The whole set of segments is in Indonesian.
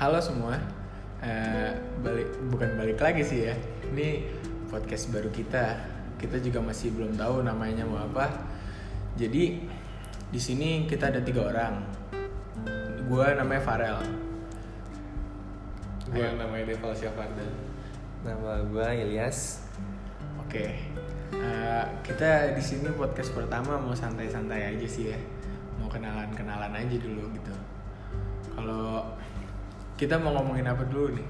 Halo semua, Eh, balik bukan balik lagi sih ya. Ini podcast baru kita. Kita juga masih belum tahu namanya mau apa. Jadi di sini kita ada tiga orang. Gua namanya Farel. Gue namanya Deval Syafardan Nama gue Ilyas. Oke, Eh, kita di sini podcast pertama mau santai-santai aja sih ya, mau kenalan-kenalan aja dulu gitu. Kalau kita mau ngomongin apa dulu nih?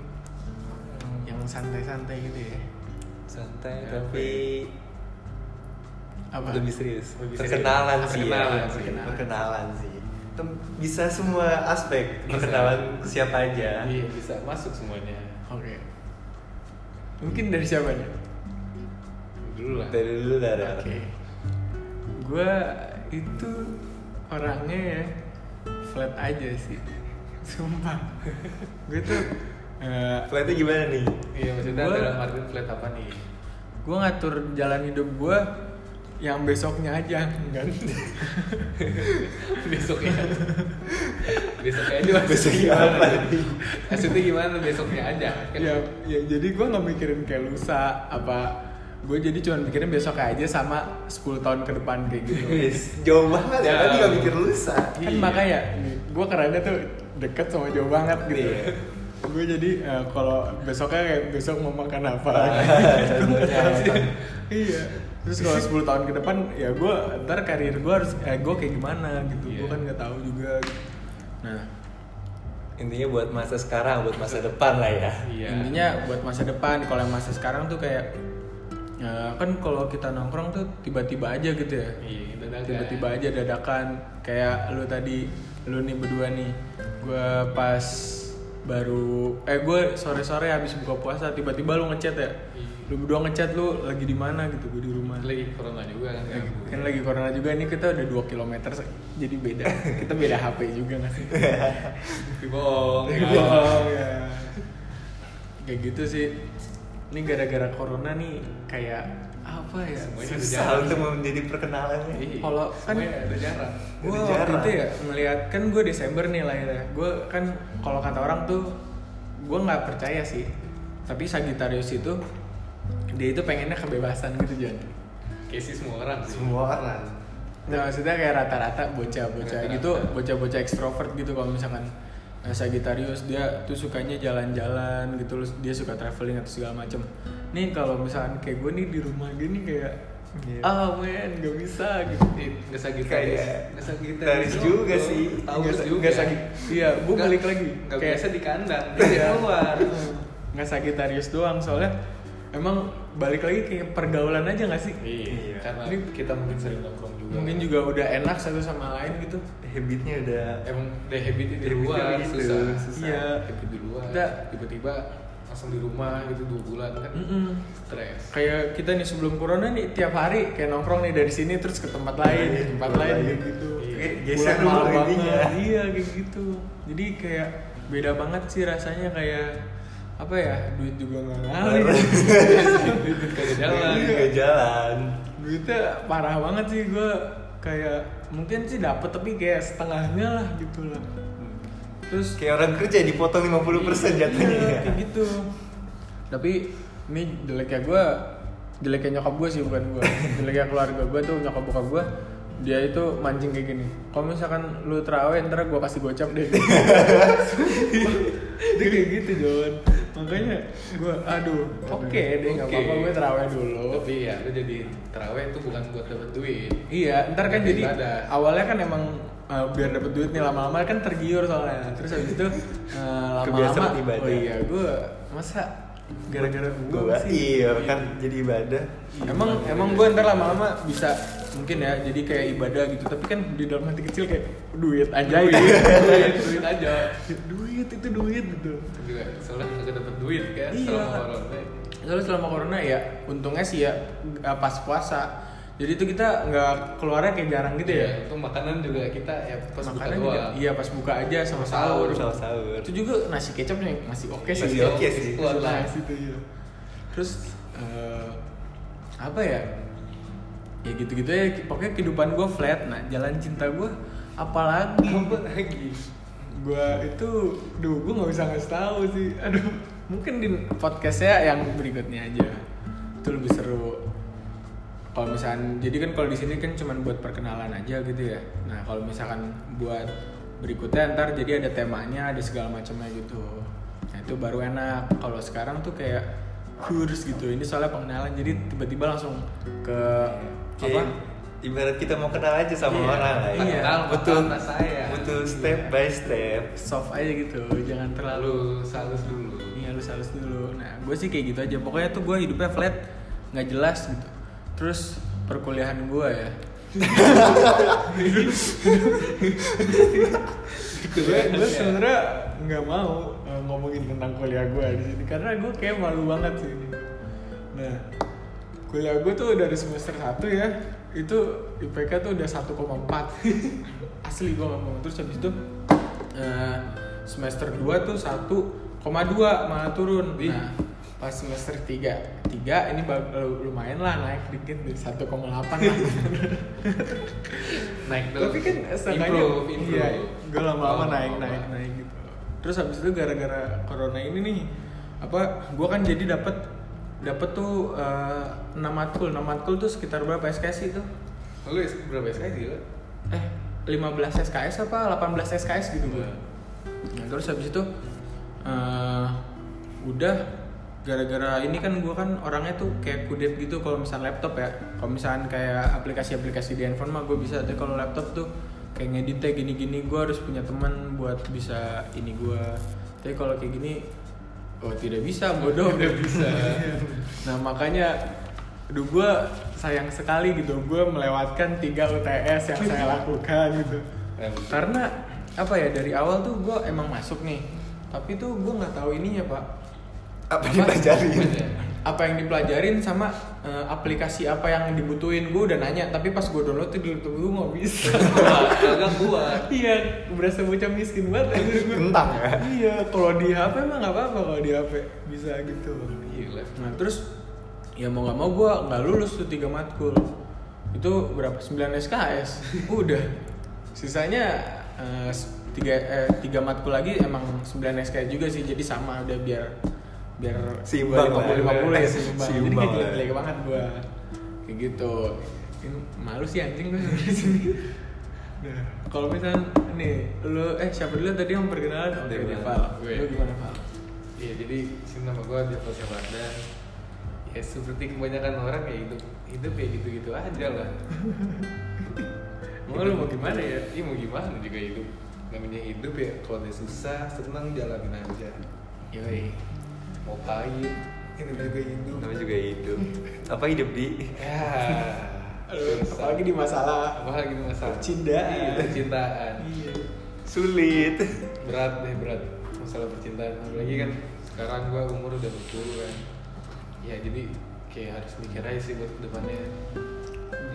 Yang santai-santai gitu ya? Santai Ya, tapi Apa? lebih serius. Lebih serius. perkenalan sih. ya. Perkenalan sih. Perkenalan sih. Tem- Bisa semua aspek perkenalan ke siapa aja. Iya bisa masuk semuanya Oke. Mungkin dari siapa nih? Dulu lah Dari dulu dari. Oke. Gua itu orangnya ya flat aja sih. Sumpah. Gue tuh eh, Flightnya gimana nih? Iya maksudnya Gua- dalam artian flat apa nih gue ngatur jalan hidup gue yang besoknya aja kan? enggak Besoknya ya. Besoknya aja maksudnya Besoknya apa nih? Maksudnya gimana besoknya aja kan? ya, ya jadi gue nggak mikirin kayak lusa apa gue jadi cuman mikirin besok aja sama 10 tahun ke depan kayak gitu Wis, jauh banget ya. Ya. Tadi gak mikir lusa. kan Iya. makanya gue kerennya tuh deket sama jauh banget gitu Iya. gue jadi eh, kalau besoknya kayak besok mau makan Ah, apa Gitu. iya terus kalau 10 tahun ke depan ya gue ntar karir gue harus eh, gue kayak gimana gitu gue Iya. kan nggak tahu juga nah Intinya buat masa sekarang, buat masa depan lah ya. Iya intinya buat masa depan kalau yang masa sekarang tuh kayak ya, kan kalau kita nongkrong tuh tiba-tiba aja gitu ya Iya dadakan. tiba-tiba aja dadakan kayak lu tadi lu nih berdua nih gue pas baru eh gue sore-sore habis buka puasa tiba-tiba lu ngechat ya Iya. lu berdua ngechat lu lagi di mana gitu gue di rumah Lagi corona juga kan Lagi- kan lagi corona juga nih kita udah 2 km se- jadi beda kita beda HP juga nggak sih Tapi bohong bohong Iya. ya kayak gitu sih ini gara-gara corona nih kayak apa ya Semuanya ada jarak. Susah untuk menjadi perkenalannya. Iya, Kalau kan- semuanya ada jarak gue Ada waktu jarak. itu ya ngelihat kan gue Desember nih lahirnya gue kan kalau kata orang tuh gue nggak percaya sih tapi Sagittarius itu dia itu pengennya kebebasan gitu Jan Kayak sih semua orang sih Semua orang. nah maksudnya kayak rata-rata bocah-bocah Rata-rata. gitu bocah-bocah ekstrovert gitu kalau misalkan eh, Sagittarius dia tuh sukanya jalan-jalan gitu terus dia suka traveling atau segala macem nih kalau misalkan kayak gue nih di rumah gini kayak Iya. ah men gak bisa gitu Nggak Eh, sakit Kayak- Nggak sakit Taris juga sih. Tahu Nggak sa- juga nggak sakit. Iya, gua Nggak- balik lagi. nggak Kayak- Iya. biasa di kandang Dia keluar nggak Sagitarius doang soalnya emang balik lagi kayak pergaulan aja nggak sih Iya Iya. Karena Ini- kita mungkin sering nongkrong juga mungkin juga udah enak satu sama lain gitu Habitnya udah Emang deh habit di Habitnya luar begitu, Susah susah. Iya. Habit di luar Kita- Tiba-tiba langsung di rumah gitu dua bulan kan Mm-mm. Stres kayak kita nih sebelum corona nih tiap hari kayak nongkrong nih dari sini terus ke tempat lain Iya, ke tempat tempat lain lain. kayak gitu Iya. Kayak geser Pulang dulu malam banget. ininya. iya kayak gitu jadi kayak beda banget sih rasanya kayak apa ya duit juga nggak ngalir Kayak jalan Iya, nggak jalan. duitnya parah banget sih gue kayak mungkin sih dapet tapi kayak setengahnya lah gitu lah terus Terus kayak orang kerja dipotong 50% jatuhnya. Iya, ya. kayak gitu tapi ini jeleknya gue jeleknya nyokap gue sih bukan gue jeleknya keluarga gue tuh nyokap bokap gue dia itu mancing kayak gini kalau misalkan lu terawih ntar gue kasih gocap deh dia kayak gitu John makanya gue aduh oke deh nggak Oke. apa-apa gue terawih dulu Tapi ya lu jadi terawih itu bukan buat dapet duit Iya, ntar kan Buat jadi ibadah. awalnya kan emang uh, biar dapet duit nih lama-lama kan tergiur soalnya. Terus habis itu uh, lama-lama, Kebiasaan ibadah. oh iya gue masa gara-gara gitu gue Gua sih. iya kan jadi ibadah. Emang emang gue ntar lama-lama bisa mungkin ya jadi kayak ibadah gitu. Tapi kan di dalam hati kecil kayak duit aja gitu. Duit, duit aja duit itu duit gitu. Juga, soalnya kagak dapet duit kan Iya. selama corona Soalnya selama corona ya untungnya sih ya uh, pas puasa. Jadi itu kita nggak keluarnya kayak jarang gitu Iya. ya. itu makanan juga kita ya pas buka Makanan juga, doang iya pas buka aja sama Sama sahur. sahur. Sama sahur. Itu juga nasi kecapnya masih oke sih. Masih Iya. oke sih. Keluar lah. Nice itu, iya. Terus eh, apa ya? Ya gitu-gitu ya. Pokoknya kehidupan gue flat. Nah jalan cinta gue apalagi Apa lagi? gua itu duh gua nggak bisa ngasih tahu sih aduh mungkin di podcastnya yang berikutnya aja itu lebih seru kalau misalkan jadi kan kalau di sini kan cuman buat perkenalan aja gitu ya nah kalau misalkan buat berikutnya ntar jadi ada temanya ada segala macamnya gitu nah itu baru enak kalau sekarang tuh kayak kurs gitu ini soalnya pengenalan jadi tiba-tiba langsung ke apa Kayak Iya. ibarat kita mau kenal aja sama Iya. orang lah ya. Iya. Kenal, Betul. kenal saya. Betul step by step. soft aja gitu jangan terlalu terlalu salus dulu ini halus halus dulu nah gue sih kayak gitu aja pokoknya tuh gue hidupnya flat nggak jelas gitu terus perkuliahan gue ya gue Iya, gue sebenarnya nggak mau eh, ngomongin tentang kuliah gue di sini karena gue kayak malu banget sih ini nah kuliah gue tuh dari semester 1 ya itu IPK tuh udah 1,4 asli gue nggak mau terus habis itu eh, semester 2 tuh 1,2 malah turun Wih. nah pas semester 3 3 ini bag- lumayan lah naik dikit deh, 1,8 lah naik dulu tapi kan setengahnya improve improve iya, gue lama-lama Oh, naik naik naik gitu terus habis itu gara-gara corona ini nih apa gue kan jadi dapat dapat tuh eh, enam matkul enam matkul tuh sekitar berapa SKS itu lu is- berapa SKS gila eh 15 SKS apa 18 SKS gitu gue nah terus habis itu eh, udah gara-gara ini kan gue kan orangnya tuh kayak kudet gitu kalau misalnya laptop ya kalau misalnya kayak aplikasi-aplikasi di handphone mah gue bisa tapi kalau laptop tuh kayak ngeditnya gini-gini gue harus punya teman buat bisa ini gue tapi kalau kayak gini oh tidak bisa bodoh Udah bisa Nah makanya Aduh gue sayang sekali gitu Gue melewatkan 3 UTS yang saya lakukan gitu Karena apa ya dari awal tuh gue emang masuk nih Tapi tuh gue nggak tahu ininya pak Apa dipelajarin? apa yang dipelajarin sama eh, aplikasi apa yang dibutuhin gue udah nanya tapi pas gue download tuh di YouTube gue nggak bisa Gua, kagak gua iya berasa bocah miskin banget anjir gua. Kentang ya? iya kalau di HP emang nggak apa-apa kalau di HP bisa gitu Gila. nah terus ya mau nggak mau gue nggak lulus tuh tiga matkul itu berapa 9 SKS udah sisanya eh, s- tiga eh, tiga matkul lagi emang 9 SKS juga sih jadi sama udah biar biar Seimbang 50 50 lah. ya seimbang, jadi Seimbang kayak lah. jelek-jelek banget gue kayak gitu Ini malu sih anjing gue di sini Nah, kalau misalnya nih lu eh siapa dulu tadi yang perkenalan oke Devan. Deval Gue. lu gimana Val Iya, jadi sini nama gua Devo Syabanda. Ya seperti kebanyakan orang ya hidup hidup ya gitu-gitu aja lah. mau lu mau gimana ya? Iya mau gimana juga hidup. Namanya hidup ya kalau dia susah senang jalanin aja. yoi Mau pahit ini juga hidup. Namanya juga hidup. Apa hidup di? Ya. Aduh, susah. apalagi di masalah apalagi di masalah Percintaan. Iya, percintaan. iya Sulit. berat deh berat masalah percintaan apalagi kan sekarang gua umur udah 20 kan ya jadi kayak harus mikir aja sih buat kedepannya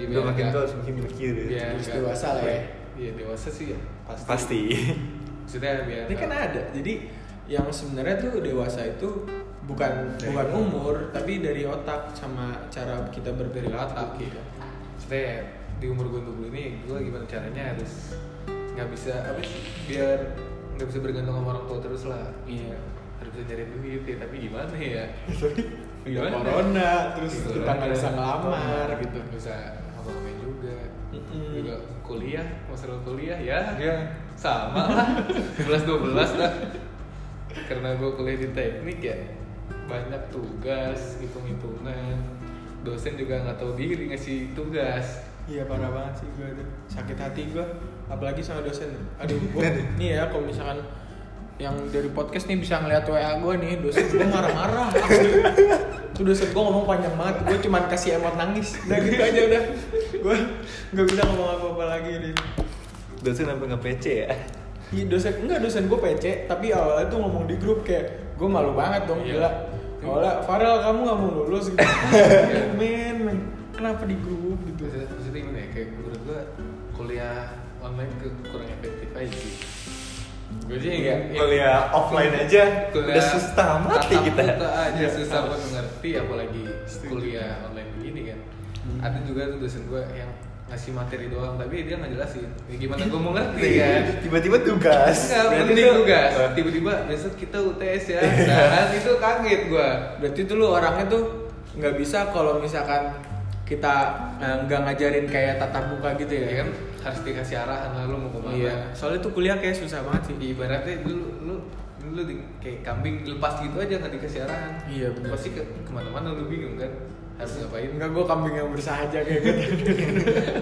Dia Udah makin nggak- tua harus makin mikir. ya. biar Harus nggak- dewasa lah ya. iya dewasa sih ya pasti Pasti. maksudnya biar ini kan nggak- ada jadi yang sebenarnya tuh dewasa itu bukan bukan umur tapi dari otak sama cara kita berperilaku Otak, gitu maksudnya ya, di umur gua 20 ini gua gimana caranya harus nggak bisa apa sih biar nggak bisa bergantung sama orang tua terus lah iya harus bisa nyari duit ya tapi gimana ya Udah corona terus Iya, kita nggak corona. bisa ngelamar gitu nggak bisa ngapa-ngapain juga Mm-mm. juga kuliah masalah kuliah ya sama lah 11 12 lah karena gue kuliah di teknik ya banyak tugas hitung-hitungan dosen juga nggak tahu diri ngasih tugas Iya parah banget sih gue tuh sakit hati gue apalagi sama dosen. Aduh gue nih ya kalau misalkan yang dari podcast nih bisa ngeliat WA gue nih dosen gue marah-marah. Tuh dosen gue ngomong panjang banget, gue cuman kasih emot nangis. Udah gitu aja udah. Gue nggak bisa ngomong apa-apa lagi nih. Dosen sampai nggak PC ya? Iya dosen enggak dosen gue PC tapi awalnya tuh ngomong di grup kayak gue malu banget dong Iya. gila. Awalnya Farel kamu nggak mau lulus gitu. men, men kenapa di grup gitu? maksudnya, maksudnya gimana ya kayak menurut gue kuliah online ke kurang efektif aja sih gue sih nggak- Hmm, Kuliah offline aja. Kuliah Udah susah mati tatap kita. muka aja Iya. susah buat mengerti apalagi kuliah online begini kan Hmm. ada juga tuh dosen gue yang ngasih materi doang tapi dia nggak jelasin ya, gimana gue mau ngerti Nih, kan Tiba-tiba Enggak, tugas. Iya, Berarti Iya. penting itu- Iya, tugas. Eh, Tiba-tiba besok kita UTS ya. Nah, itu kaget gua. berarti tuh lu orangnya tuh nggak bisa kalau misalkan kita eh, nggak ngajarin kayak tatap muka gitu ya, Ya kan harus dikasih arahan lah lu mau kemana. iya soalnya tuh kuliah kayak susah banget sih Ibaratnya dulu lu dulu di, kayak kambing lepas gitu aja nggak dikasih arahan. Iya, bener. Pasti ke, kemana-mana lu bingung kan harus ngapain. enggak gue kambing yang bersahaja kayak gitu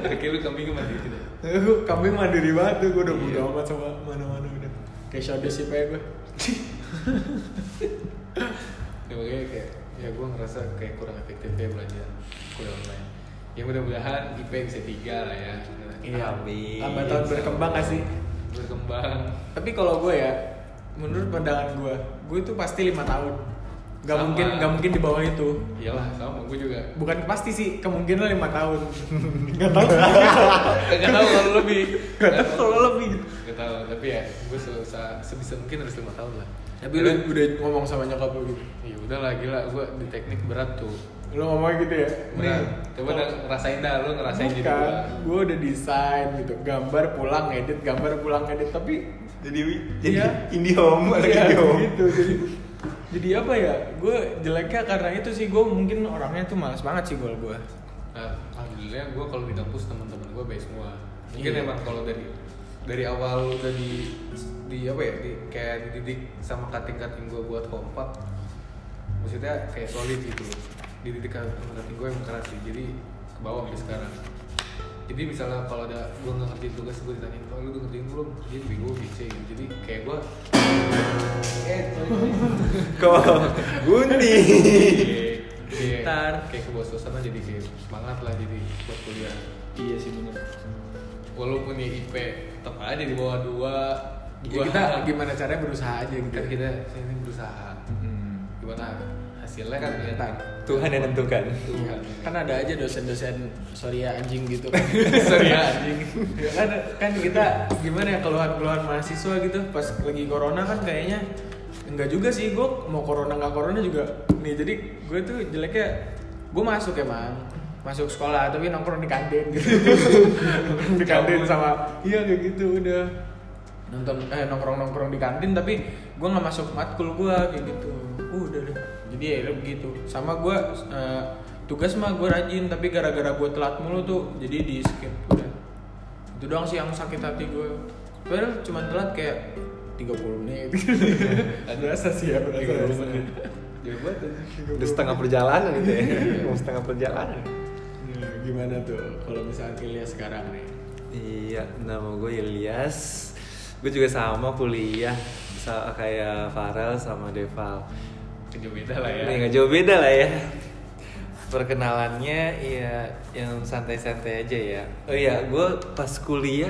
Kayak lu kambing mati gitu. Gua kambing mandiri banget tuh gue udah Iya. bodo amat sama mana-mana udah kayak shadow sih gue Ya makanya kayak ya gue ngerasa kayak kurang efektif ya belajar kuliah online. Ya mudah-mudahan IP bisa tiga lah ya. Amin. Iya. tambah tahun berkembang gak sih Berkembang. tapi kalau gue ya menurut pandangan gue gue itu pasti lima tahun nggak Sama. mungkin nggak mungkin di bawah itu Iyalah sama gue juga. bukan pasti sih kemungkinan lima tahun nggak tahu Gak tau kalau lebih nggak tahu kalau lebih gitu. Gak tau, tapi ya gue sebisa, sebisa mungkin harus lima tahun lah tapi lu udah ngomong sama nyokap lu gitu Ya udah lah gila, gue di teknik berat tuh lu ngomongnya gitu ya Berat, coba udah ngerasain dah, lu ngerasain gitu. jadi Bukan, gua gue udah desain gitu, gambar pulang edit, gambar pulang edit, tapi Jadi jadi Iya. indie home, anak Iya, indie home. gitu jadi jadi apa ya gue jeleknya karena itu sih gue mungkin orangnya tuh malas banget sih gol gue Nah, alhamdulillah gue kalau di kampus teman-teman gue baik semua Mungkin Iya. emang kalau dari dari awal udah di, di apa ya, di, kayak dididik sama kating-kating gue buat kompak Maksudnya kayak solid gitu Dididik kating-kating gue emang keras sih, jadi ke bawah sampai sekarang jadi misalnya kalau ada gue nggak ngertiin tugas gue ditanyain kalau lu udah ngertiin belum dia bego bice gitu jadi kayak gue eh sorry. Kok gunting. Iya, Ntar. kayak kebosan jadi kayak semangat lah jadi buat kuliah iya sih bener walaupun ya IP tetap aja di bawah dua ya, dua kita gimana caranya berusaha aja gitu kan Iya, kita ini berusaha Hmm. gimana hasilnya kan ya Ntar. Tuhan yang tentukan. Tuhan kan ada aja dosen-dosen sorry ya anjing gitu sorry ya, anjing Ya kan kan kita gimana ya keluhan-keluhan mahasiswa gitu pas lagi corona kan kayaknya enggak juga sih gue mau corona nggak corona juga nih jadi gue tuh jeleknya gue masuk emang masuk sekolah tapi nongkrong di kantin gitu Nongkrong di kantin sama iya kayak gitu udah nonton eh nongkrong nongkrong di kantin tapi gue nggak masuk matkul gue kayak gitu uh, udah deh jadi ya udah begitu sama gue eh, tugas mah gue rajin tapi gara-gara gue telat mulu tuh jadi di skip udah itu doang sih yang sakit hati gue padahal cuma telat kayak 30 menit Iya. berasa sih ya berasa, berasa. jauh banget anjing. Udah setengah perjalanan gitu ya. Mau setengah perjalanan. Nah, gimana tuh kalau misalnya Ilya sekarang nih Iya, nama gue Ilyas. Gue juga sama kuliah sa- kayak Farel sama Deval. Jauh beda lah ya Ini nggak jauh beda lah ya. Perkenalannya ya yang santai-santai aja ya. Oh iya, gue pas kuliah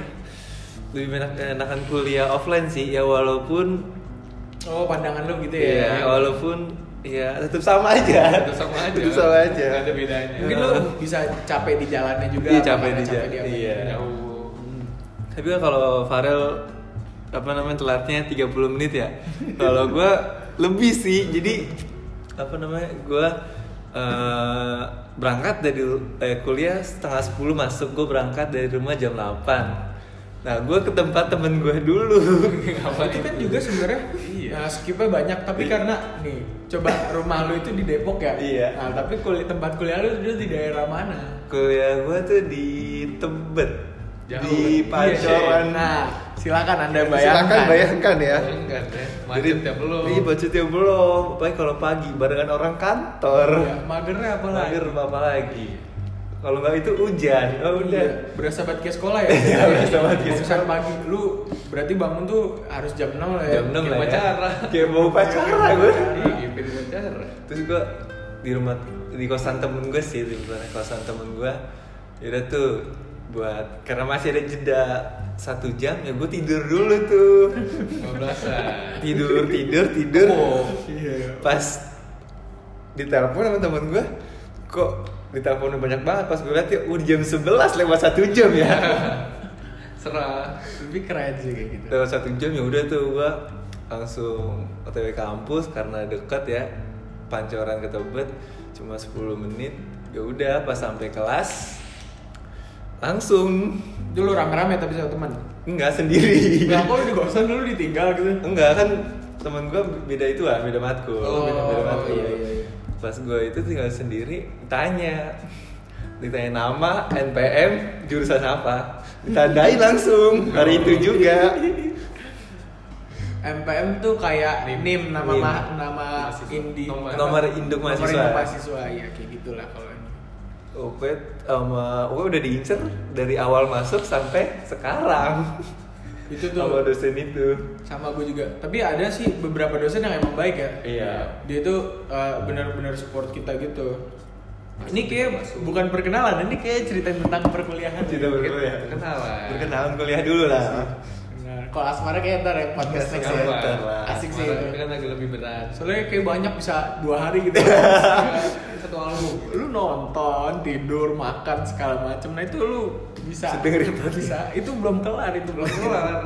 lebih enak enakan kuliah offline sih ya walaupun oh pandangan lu gitu ya ya, walaupun ya tetap sama aja. Iya. Tetap sama aja. Tetap sama aja. Nggak ada bedanya. mungkin lu bisa capek di jalannya juga Iya, capek karena di jalan, apa. iya. jauh Tapi kan kalau Farel apa namanya telatnya 30 menit ya. Kalau gue lebih sih. Jadi apa namanya gue berangkat dari eh, kuliah setengah 10 masuk gue berangkat dari rumah jam 8 Nah gue ke tempat temen gue dulu. Apa itu itu? kan juga sebenarnya Iya. nah, skipnya banyak tapi karena nih coba rumah lu itu di Depok ya Iya. nah tapi kulit tempat kuliah lu dulu di daerah mana kuliah gue tuh di Tebet, Jauh. Iya, di Pancoran. nah silakan anda bayangkan Silakan bayangkan ya. enggak deh macet ya belum Iya macetnya belum. Apalagi kalau pagi barengan orang kantor. Iya. ya, magernya apa lagi Mager apa lagi? Kalau nggak itu hujan. Oh udah. Iya, berasa banget kayak sekolah ya? Iya, berasa banget kayak Bangun sekolah. pagi, lu berarti bangun tuh harus jam 6 lah ya? Jam 6 lah Kayak ya. pacara. Kayak mau pacara gue. Iya, IP di Banjar. Terus gue di rumah di kosan temen gue sih di rumah kosan temen gue. Yaudah tuh buat karena masih ada jeda satu jam ya gue tidur dulu tuh 15 tidur tidur tidur Oh, iya. pas ditelepon sama temen gue kok diteleponnya banyak banget pas gue liat ya udah jam 11 lewat satu jam ya Serah Tapi Ah, keren sih kayak gitu. Lewat satu jam ya udah tuh gua langsung OTW kampus karena dekat ya pancoran ke Tebet cuma 10 menit ya udah pas sampai kelas langsung Dulu rame-rame ya, tapi sama teman. enggak sendiri Nah, kok lu di kosan dulu ditinggal gitu. enggak kan teman gue beda itu lah beda matkul Oh, beda, beda matkul iya, iya, iya. pas gue itu tinggal sendiri tanya ditanya nama NPM jurusan apa ditandai langsung hari itu juga MPM tuh kayak NIM. NIM, nama NIM. ma- nama Mahasiswa. indi Nomor- apa? nomor induk Nomor induk mahasiswa mahasiswa ya kayak gitulah kalau ini. Opet sama gue udah diincer dari awal masuk sampai sekarang Itu tuh sama dosen itu sama gue juga tapi ada sih beberapa dosen yang emang baik ya Iya. dia tuh uh, benar-benar support kita gitu ini kayak Masuk. bukan perkenalan ini kayak cerita tentang perkuliahan Cerita berkuliah Perkenalan. Perkenalan kuliah dulu lah Benar. kalau asmara kayak ntar ya Iya podcast next Asmara. ya. lah. Asik sih Kemarin itu. kan agak lebih berat. soalnya kayak banyak bisa dua hari gitu Satu album. lu nonton tidur makan segala macem nah itu lu bisa Bisa dengerin podcast. bisa itu belum kelar itu belum kelar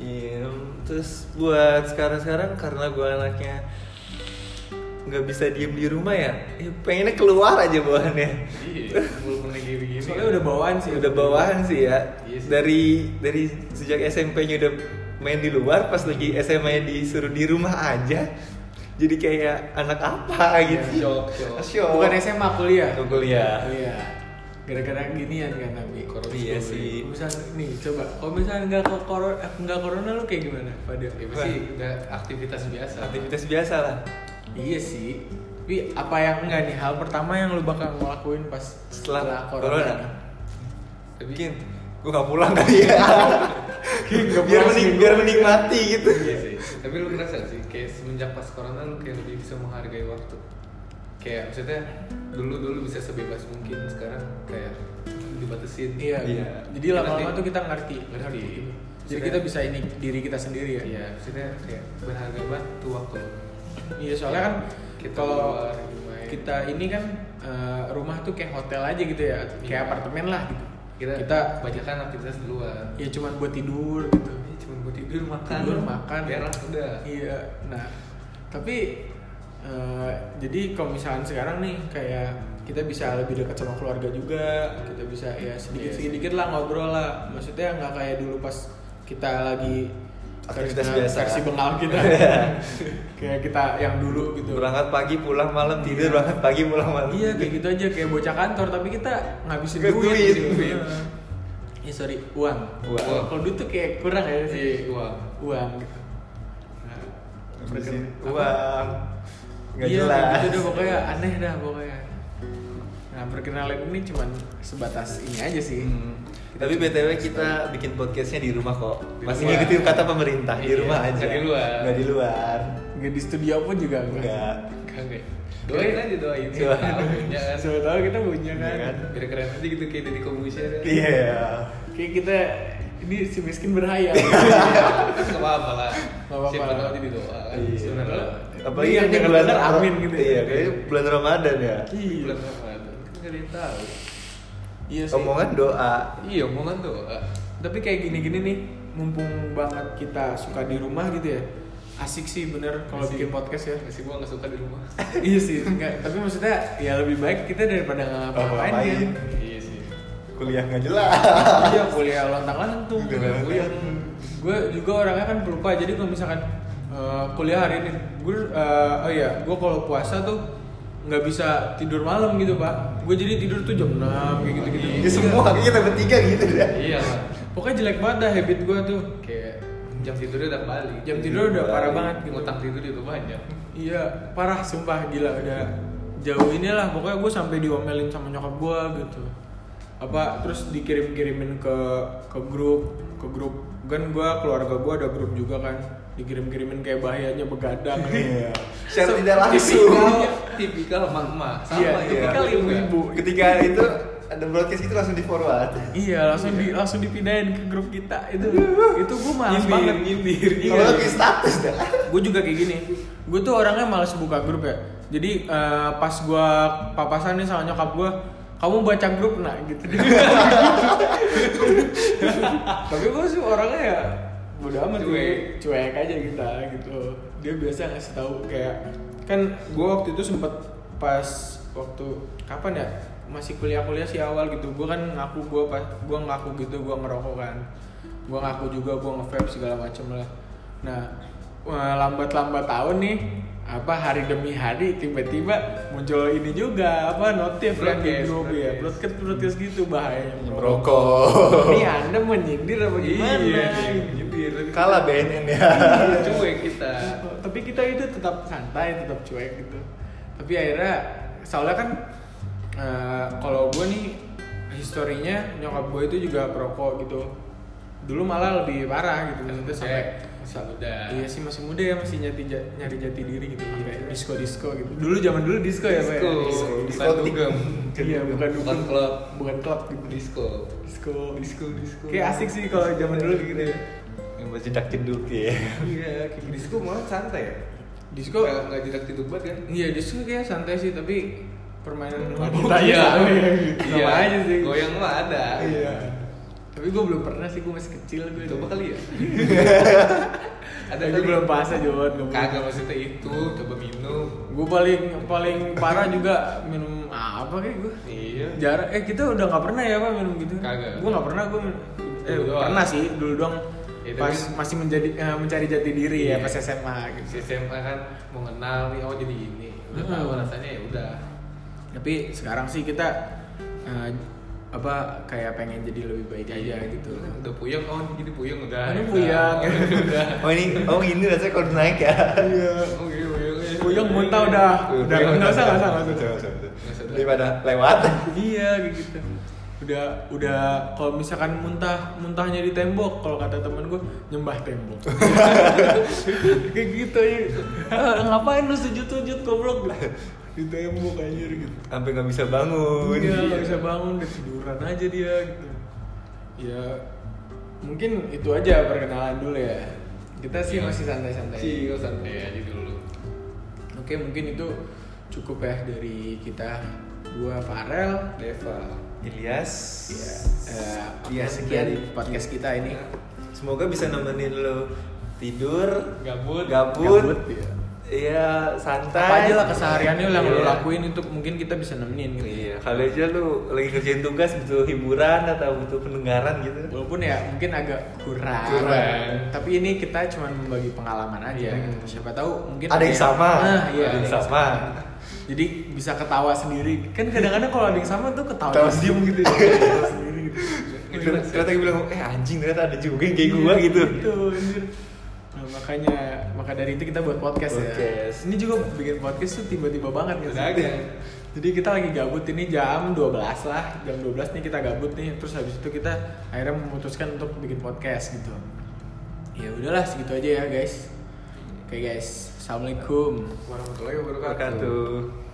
Iya, terus buat sekarang-sekarang karena gue anaknya nggak bisa diem di rumah ya, ya pengennya keluar aja bawaannya. Iya, belum pernah gini gini. soalnya udah bawaan sih Udah bawaan sih ya. Iya sih. Dari dari sejak SMP-nya udah main di luar, pas lagi SMA-nya disuruh di rumah aja, jadi kayak anak Iya, apa gitu. Ya, shock, shock. Shock. bukan SMA kuliah Aku kuliah. Iya. Gara-gara ginian kan tapi corona. Iya Terus sih. Misalnya nih coba, kalau misalnya nggak ke corona, eh, nggak corona lu kayak gimana? Pada Ya pasti udah aktivitas biasa. Aktivitas biasa lah. Iya sih. Tapi apa yang enggak nih? Hal pertama yang lu bakal ngelakuin pas Setelah corona. nih? Tapi Mungkin gue nggak pulang kali ya. Nggak Iya. biar, pulang menik- seminggu. biar menikmati gitu. Iya sih. Tapi lu ngerasa sih kayak semenjak pas corona lu kayak lebih bisa menghargai waktu. Kayak maksudnya dulu dulu bisa sebebas mungkin sekarang kayak dibatasin. Iya. Iya. Jadi Iya, lama-lama nanti- tuh kita ngerti, Ngerti. gitu. Jadi kita bisa ini diri kita sendiri ya. Iya, maksudnya kayak berharga banget tuh waktu. Iya, soalnya kan Kita kalau keluar, main. kita ini kan eh, rumah tuh kayak hotel aja gitu ya, kayak Iya. apartemen lah gitu. Kita, kita banyak kan aktivitas di luar. ya cuman buat tidur gitu. Ini cuma buat tidur makan. Tidur, makan. Berak udah. Iya. Nah, tapi eh, jadi kalau misalnya sekarang nih kayak kita bisa lebih dekat sama keluarga juga, kita bisa ya Iya, sedikit sedikit lah ngobrol lah. Maksudnya nggak kayak dulu pas kita lagi Aktivitas versi- biasa. versi bengal kita. kayak kita yang dulu gitu. Berangkat pagi pulang malam tidur, berangkat pagi pulang malam. Iya kayak gitu aja kayak bocah kantor tapi kita ngabisin Nggak duit. duit. gitu. Ya sorry, uang. Uang. Kalau duit tuh kayak kurang ya Iya, sih. uang. Uang gitu. Nah, Ngabisin apa? uang. Nggak iya, jelas. kayak gitu udah pokoknya aneh dah pokoknya. Nah, perkenalan ini cuman sebatas ini aja sih. Hmm. Tapi btw kita bikin podcastnya di rumah kok. Di Masih rumah. ngikutin kata pemerintah di Iya, rumah aja. nggak di luar. Nggak di luar. Nggak di studio pun juga enggak. Nggak. Kagak. Doain aja doain. Iya. Doain. Tahu punya kan. Ya, Siapa tahu kita punya kan. Iya kan? Biar keren aja gitu kayak dari Komusia kan. Iya. Kayak kita ini si miskin berhayal. Gak apa-apa lah. Nggak apa-apa. Siapa tahu jadi doa kan. Iya. Sebenarnya lah. Apalagi Iya, ini jangan bulan bener, amin gitu. ya. Iya, kayaknya bulan Ramadan ya. Iya. Bulan Ramadan. Kan gak ada yang tahu. Iya sih. Omongan doa. Iya, omongan doa. Tapi kayak gini-gini nih, mumpung banget kita suka di rumah gitu ya. Asik sih bener kalau Asik. bikin podcast ya. Masih gua gak suka di rumah. iya sih, enggak. Tapi maksudnya ya lebih baik kita daripada nggak ngapa-ngapain ngapain. kan. Iya sih. Kuliah nggak jelas. Iya kuliah lontang-lantung Kuliah kuliah kuliah. lontang. Gue juga orangnya kan pelupa jadi kalau misalkan eh, kuliah hari ini, gue eh, oh iya gue kalau puasa tuh nggak bisa tidur malam gitu pak. Gue jadi tidur tuh jam 6 kayak gitu-gitu. Ya semua kayaknya kita bertiga gitu dah. Iya lah. Pokoknya jelek banget dah habit gue tuh. Kayak jam tidurnya udah balik. Jam tidur Iya. udah parah banget gitu. Ngutang tidur juga banyak. Iya parah sumpah gila udah jauh inilah pokoknya gue sampai diomelin sama nyokap gue gitu apa terus dikirim kirimin ke ke grup ke grup kan gue keluarga gue ada grup juga kan dikirim kirimin kayak bahayanya begadang Iya. So, Secara tidak langsung. Tipikal, tipikal emak-emak. Sama, Iya, iya. tipikal ibu-ibu. Ketika itu ada broadcast itu langsung di forward. iya langsung di langsung dipindahin ke grup kita itu itu gue males Nyindir, banget nyindir. Iya. Iya. Kalau lagi status dah. gue juga kayak gini gue tuh orangnya males buka grup ya jadi eh, pas gue papasan nih sama nyokap gue kamu baca grup nak gitu tapi gue sih orangnya ya bodo amat Cuek. cuek cuek aja kita gitu dia biasa ngasih tahu kayak kan gue waktu itu sempet pas waktu kapan ya masih kuliah-kuliah sih awal gitu gue kan ngaku gue pas gue ngaku gitu gue ngerokok kan gue ngaku juga gue ngevape segala macem lah nah wah, lambat-lambat tahun nih apa hari demi hari tiba-tiba muncul ini juga apa notif yang di Broadcast, grup ya broadcast. broadcast broadcast gitu bahaya merokok ini anda menyindir apa gimana Iya, nyindir. kalah BNN ya Iya, cuek kita. tapi kita itu tetap santai tetap cuek gitu tapi akhirnya soalnya kan eh, kalau gue nih historinya nyokap gue itu juga perokok gitu dulu malah lebih parah gitu maksudnya sampai Masih muda. Iya sih masih muda ya masih nyati ja- nyari jati diri gitu kayak disco disco gitu dulu zaman dulu disco ya Pak, ya? Disco. Bukan Diskotik. dugem. iya bukan Bukan dukun. klub. bukan klub gitu Disco. disco Disco, disco. kayak asik sih kalau zaman dulu gitu ya yang buat jedak jeduk ya Iya, kayak disco malah santai ya. gitu. disco Nggak nggak jedak tidur banget kan? Iya justru kayak santai sih tapi permainan Wanita iya. ya. iya aja sih. Goyang mah ada. Iya. Tapi gue belum pernah sih gue masih kecil gue. Coba kali ya. Ada gue belum bahasa Jawa gue. Kagak maksudnya itu, coba minum. Gue paling paling parah juga minum apa kayak gue. Iya. Jarak eh kita udah nggak pernah ya pak minum gitu. Kagak. Gue nggak pernah gue min- eh Dulu doang. pernah sih dulu doang. Ya, tapi- pas masih menjadi eh, mencari jati diri Iya. ya pas SMA gitu. Si SMA kan mau kenal nih, oh jadi gini. Udah Mm. tahu rasanya ya udah. Tapi sekarang sih kita eh, apa kayak pengen jadi lebih baik aja gitu. Ya, Udah puyeng, oh jadi puyeng udah. Ini Ya, puyeng. udah. udah. oh ini oh ini rasanya kalau naik ya Iya. Oh iya, puyeng. iya. Puyeng muntah udah. Udah nggak usah nggak usah nggak usah. daripada lewat Iya kayak gitu. Udah udah kalau misalkan muntah muntahnya di tembok kalau kata temen gue nyembah tembok. kayak gitu ya. Ah, Ngapain lu sujud-sujud goblok lah. Di tembok anjir gitu. sampai nggak bisa bangun Iya nggak bisa bangun udah tiduran aja dia gitu. Ya mungkin itu aja perkenalan dulu ya. Kita sih Iya. masih santai-santai. Chill santai aja dulu. Oke mungkin itu cukup ya dari kita gua Farel Deva. Ilyas Ya, eh, ya sekian sekian podcast kita ini. semoga bisa nemenin lo tidur Gabut. gabut Gabut, ya. iya santai Apa aja lah kesehariannya yang lo Iya. lakuin itu mungkin kita bisa nemenin gitu. Iya, kali aja lu lagi kerjain tugas butuh hiburan atau butuh pendengaran gitu. Walaupun ya mungkin agak kurang. Kurang. Tapi ini kita cuma membagi pengalaman aja. gitu. Iya. Siapa tahu mungkin Ada yang sama. Nah, iya, ada yang sama. Jadi bisa ketawa sendiri. Kan kadang-kadang kalau ada yang sama tuh ketawa Ketawa diem gitu. Ketawa sendiri gitu. Ternyata ternyata gue bilang, eh anjing ternyata ada juga yang kayak gua gitu. Gitu, anjir. Nah, makanya maka dari itu kita buat podcast, Podcast. ya. Ini juga bikin podcast tuh tiba-tiba banget ya. Dagang. Jadi kita lagi gabut ini jam 12 lah, jam 12 nih kita gabut nih, terus habis itu kita akhirnya memutuskan untuk bikin podcast gitu. Ya udahlah segitu aja ya guys. Oke guys, assalamualaikum. Warahmatullahi wabarakatuh. Wabarakatuh.